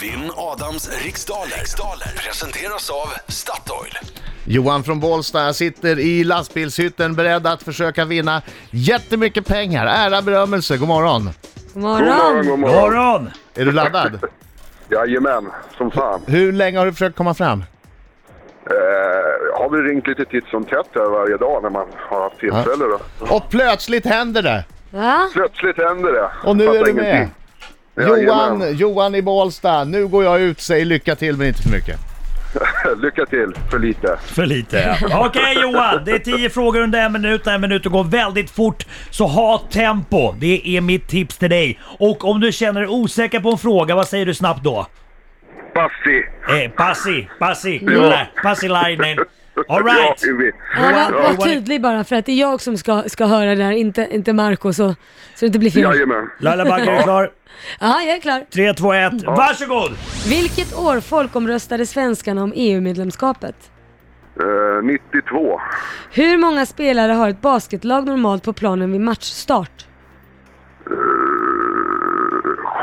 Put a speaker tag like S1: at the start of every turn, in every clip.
S1: Vinn Adams riksdaler. riksdaler presenteras av Statoil.
S2: Johan från Bålsta sitter i lastbilshytten beredd att försöka vinna jättemycket pengar. Ära, berömmelse, god morgon.
S3: God
S4: God morgon,
S3: morgon!
S4: god
S5: God
S4: morgon.
S5: morgon!
S2: Är du laddad?
S4: Jajamän, som fan.
S2: Hur länge har du försökt komma fram?
S4: Eh, har vi ringt lite titt som tätt här varje dag när man har haft tillfälle då.
S2: Och plötsligt händer det!
S3: Va?
S4: Plötsligt händer det.
S2: Och nu
S4: Fattar
S2: är du med!
S4: ingenting.
S2: Johan,
S4: Jajamän.
S2: Johan i Bålsta, nu går jag ut, säg lycka till men inte för mycket.
S4: Lycka till, för lite.
S5: För lite ja. Okej Johan, det är tio frågor under en minut. En minut och går väldigt fort. Så ha tempo. Det är mitt tips till dig. Och om du känner dig osäker på en fråga, vad säger du snabbt då?
S4: Basti!
S5: Eh, passi, passi,
S4: Ja.
S5: kulle, passi linen. All right.
S4: Ja, vi.
S3: Ja, var,
S4: Ja,
S3: var tydlig bara för att det är jag som ska, ska höra det här, inte, inte Marco så, så det inte blir fel.
S4: Jajamän.
S5: Laila Bagge, är du klar?
S3: Ja, jag är klar.
S5: 3, 2, 1. Varsågod!
S3: Vilket år folkomröstade svenskarna om E EU-medlemskapet?
S4: Eh, 92.
S3: Hur många spelare har ett basketlag normalt på planen vid matchstart?
S4: Eh,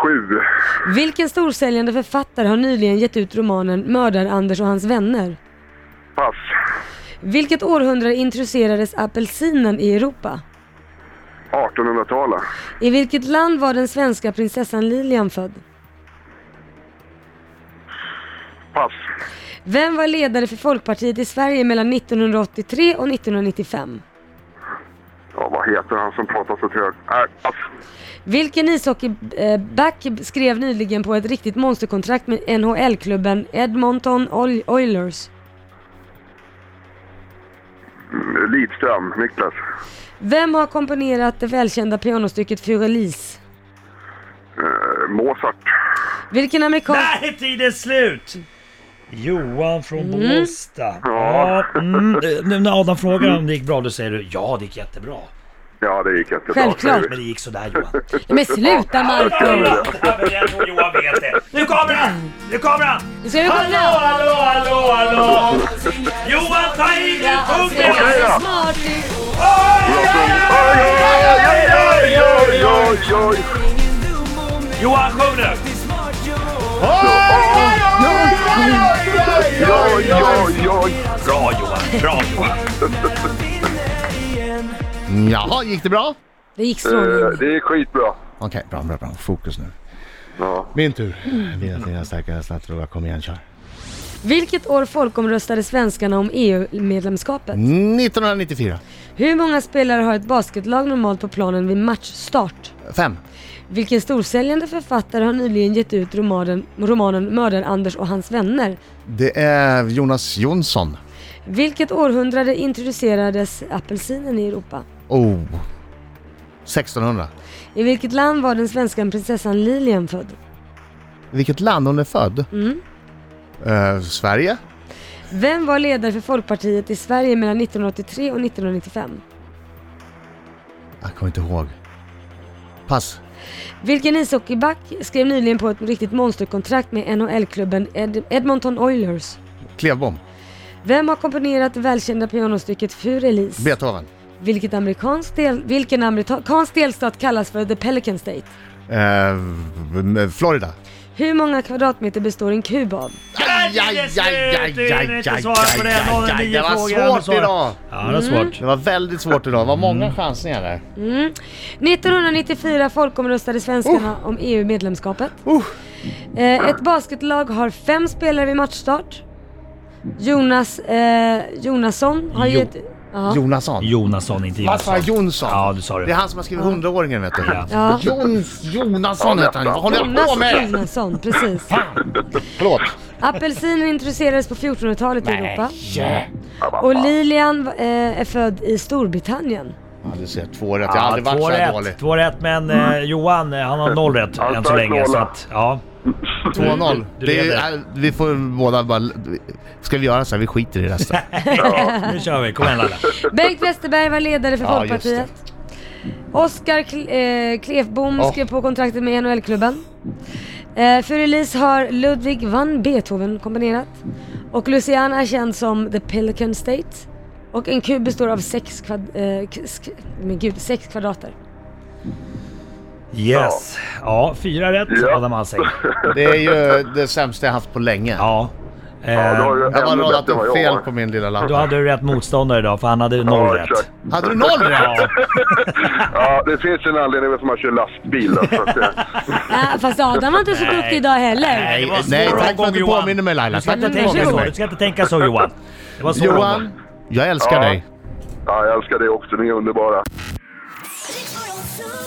S4: Sju.
S3: Vilken storsäljande författare har nyligen gett ut romanen Mördar-Anders och hans vänner?
S4: Pass.
S3: Vilket århundrade introducerades apelsinen i Europa?
S4: 1800-talet.
S3: I vilket land var den svenska prinsessan Lilian född?
S4: Pass.
S3: Vem var ledare för Folkpartiet i Sverige mellan 1983 och 1995?
S4: Ja, vad heter han som pratar så högt? Nej, pass.
S3: Vilken ishockeyback skrev nyligen på ett riktigt monsterkontrakt med NHL-klubben Edmonton Oil- Oilers?
S4: Mm, Lidström, Niklas.
S3: Vem har komponerat det välkända pianostycket Furilis?
S4: Eh, Mozart.
S3: Vilken amerikansk...
S5: Där är tiden slut! Johan från Båstad. Ja, mm, eh, nu när Adam frågar om det gick bra, då säger du ja, det gick jättebra.
S4: Ja, det gick jättebra.
S3: Självklart.
S5: Men det gick sådär Johan.
S3: Men sluta Marco!
S5: Ja, men jag tror Johan vet det. Nu kommer han! Nu kommer han!
S3: Nu ska vi
S5: Hallå,
S3: kolla!
S5: hallå, hallå, hallå! Johan, ta i nu! Sjung det!
S4: Okej då.
S3: Smart du!
S4: Oj, oj, oj, oj, oj, oj, oj.
S5: Johan, sjung nu!
S4: Ja, ja, ja.
S5: Bra Johan, bra Johan.
S2: Jaha, gick det bra?
S3: Det gick
S4: Eh,
S3: strålande.
S4: Det är skitbra.
S2: Okej, bra, bra, bra. Fokus nu.
S4: Ja.
S2: Min tur. Mina fina starka hästar, tror jag. Kom igen, kör.
S3: Vilket år folkomröstade svenskarna om EU-medlemskapet?
S2: 1994.
S3: Hur många spelare har ett basketlag normalt på planen vid matchstart?
S2: Fem.
S3: Vilken storsäljande författare har nyligen gett ut romanen, romanen Mördar-Anders och hans vänner?
S2: Det är Jonas Jonsson.
S3: Vilket århundrade introducerades apelsinen i Europa?
S2: Oh. 1600.
S3: I vilket land var den svenska prinsessan Lilian född?
S2: I vilket land hon är född? Eh, Sverige?
S3: Vem var ledare för Folkpartiet i Sverige mellan 1983 och 1995?
S2: Jag kommer inte ihåg. Pass.
S3: Vilken ishockeyback skrev nyligen på ett riktigt monsterkontrakt med NHL-klubben Ed- Edmonton Oilers?
S2: Klevbom.
S3: Vem har komponerat det välkända pianostycket Furelis?
S2: Beethoven.
S3: Vilket amerikansk del, vilken amerikansk delstat kallas för The Pelican State?
S2: Eh, m- Florida.
S3: Hur många kvadratmeter består en kub av?
S5: Aj, aj, aj, aj, aj, aj, aj, aj, aj.
S2: Det var svårt idag.
S5: Ja, det var svårt.
S2: Det var väldigt svårt idag. Det var många chansningar där.
S3: 1994 folkomröstade svenskarna
S2: Oh.
S3: om EU-medlemskapet. Eh, ett basketlag har fem spelare vid matchstart. Jonas eh, Jonasson har
S5: Jo-
S3: gett... Ja.
S2: Jonasson.
S5: Jonasson, inte
S2: Vad sa
S5: Johansson.
S2: jag? Jonsson?
S5: Ja, du sa det.
S2: Det är han som har skrivit hundraåringen vet du.
S3: Ja.
S2: Jons, Jonasson heter han Vad håller jag på
S3: Jonas
S2: med?
S3: Jonasson, precis.
S2: Förlåt.
S3: Apelsinen introducerades på 1400-talet i Europa.
S2: Yeah.
S3: Och Lilian eh, är född i Storbritannien.
S2: Ja, du ser, två rätt. Mm. Jag har
S5: Ja,
S2: aldrig varit
S5: två
S2: så här
S5: rätt,
S2: dålig.
S5: två rätt men eh, Johan eh, han har noll rätt
S4: Han
S5: än så
S4: stark
S5: länge. Så
S4: nolla.
S5: att, ja.
S2: 2-0.
S5: Du
S2: Det
S5: leder.
S2: är- äh, Vi får båda bara... Ska vi göra så här? Vi skiter i resten.
S5: Nu kör vi, kom igen Laila.
S3: Bengt Westerberg var ledare för
S2: Ja,
S3: Folkpartiet. Oskar Kl- eh, Klefbom
S2: Ja.
S3: skrev på kontraktet med NHL-klubben. Eh, Furelis har Ludwig van Beethoven komponerat. Och Louisiana är känd som The Pelican State. Och en kub består av sex, kvad- eh, k- sk- men gud, sex kvadrater.
S5: Yes. Ja, fyra rätt
S4: Ja.
S5: Adam Alsing.
S2: Det är ju det sämsta jag haft på länge.
S5: Ja.
S4: Ja, du har
S5: Eh,
S4: ju
S2: Jag har
S4: ännu
S2: bara radat
S4: bättre än vad
S2: upp
S4: jag
S2: fel
S4: har.
S2: på min lilla
S5: Då
S2: lapp.
S5: hade du rätt motståndare idag för han hade noll
S4: Ja,
S5: rätt.
S4: exakt.
S2: Hade du noll rätt?
S5: Ja.
S4: Ja, det finns en anledning varför man kör lastbil. då, så att det-
S3: Äh, fast Adam var inte så duktig idag heller.
S5: Nej, det var en svår
S2: Nej, tack för
S5: omgång,
S2: att du
S5: Johan.
S2: påminner mig Laila.
S5: Du ska,
S2: Tack för
S5: inte
S2: att du
S5: tänka
S2: påminner
S5: så. du
S2: mig.
S5: ska inte tänka så Johan. Det var så
S2: Johan, jag älskar
S4: Ja.
S2: dig.
S4: Ja, jag älskar dig också. Ni är underbara.
S6: Riks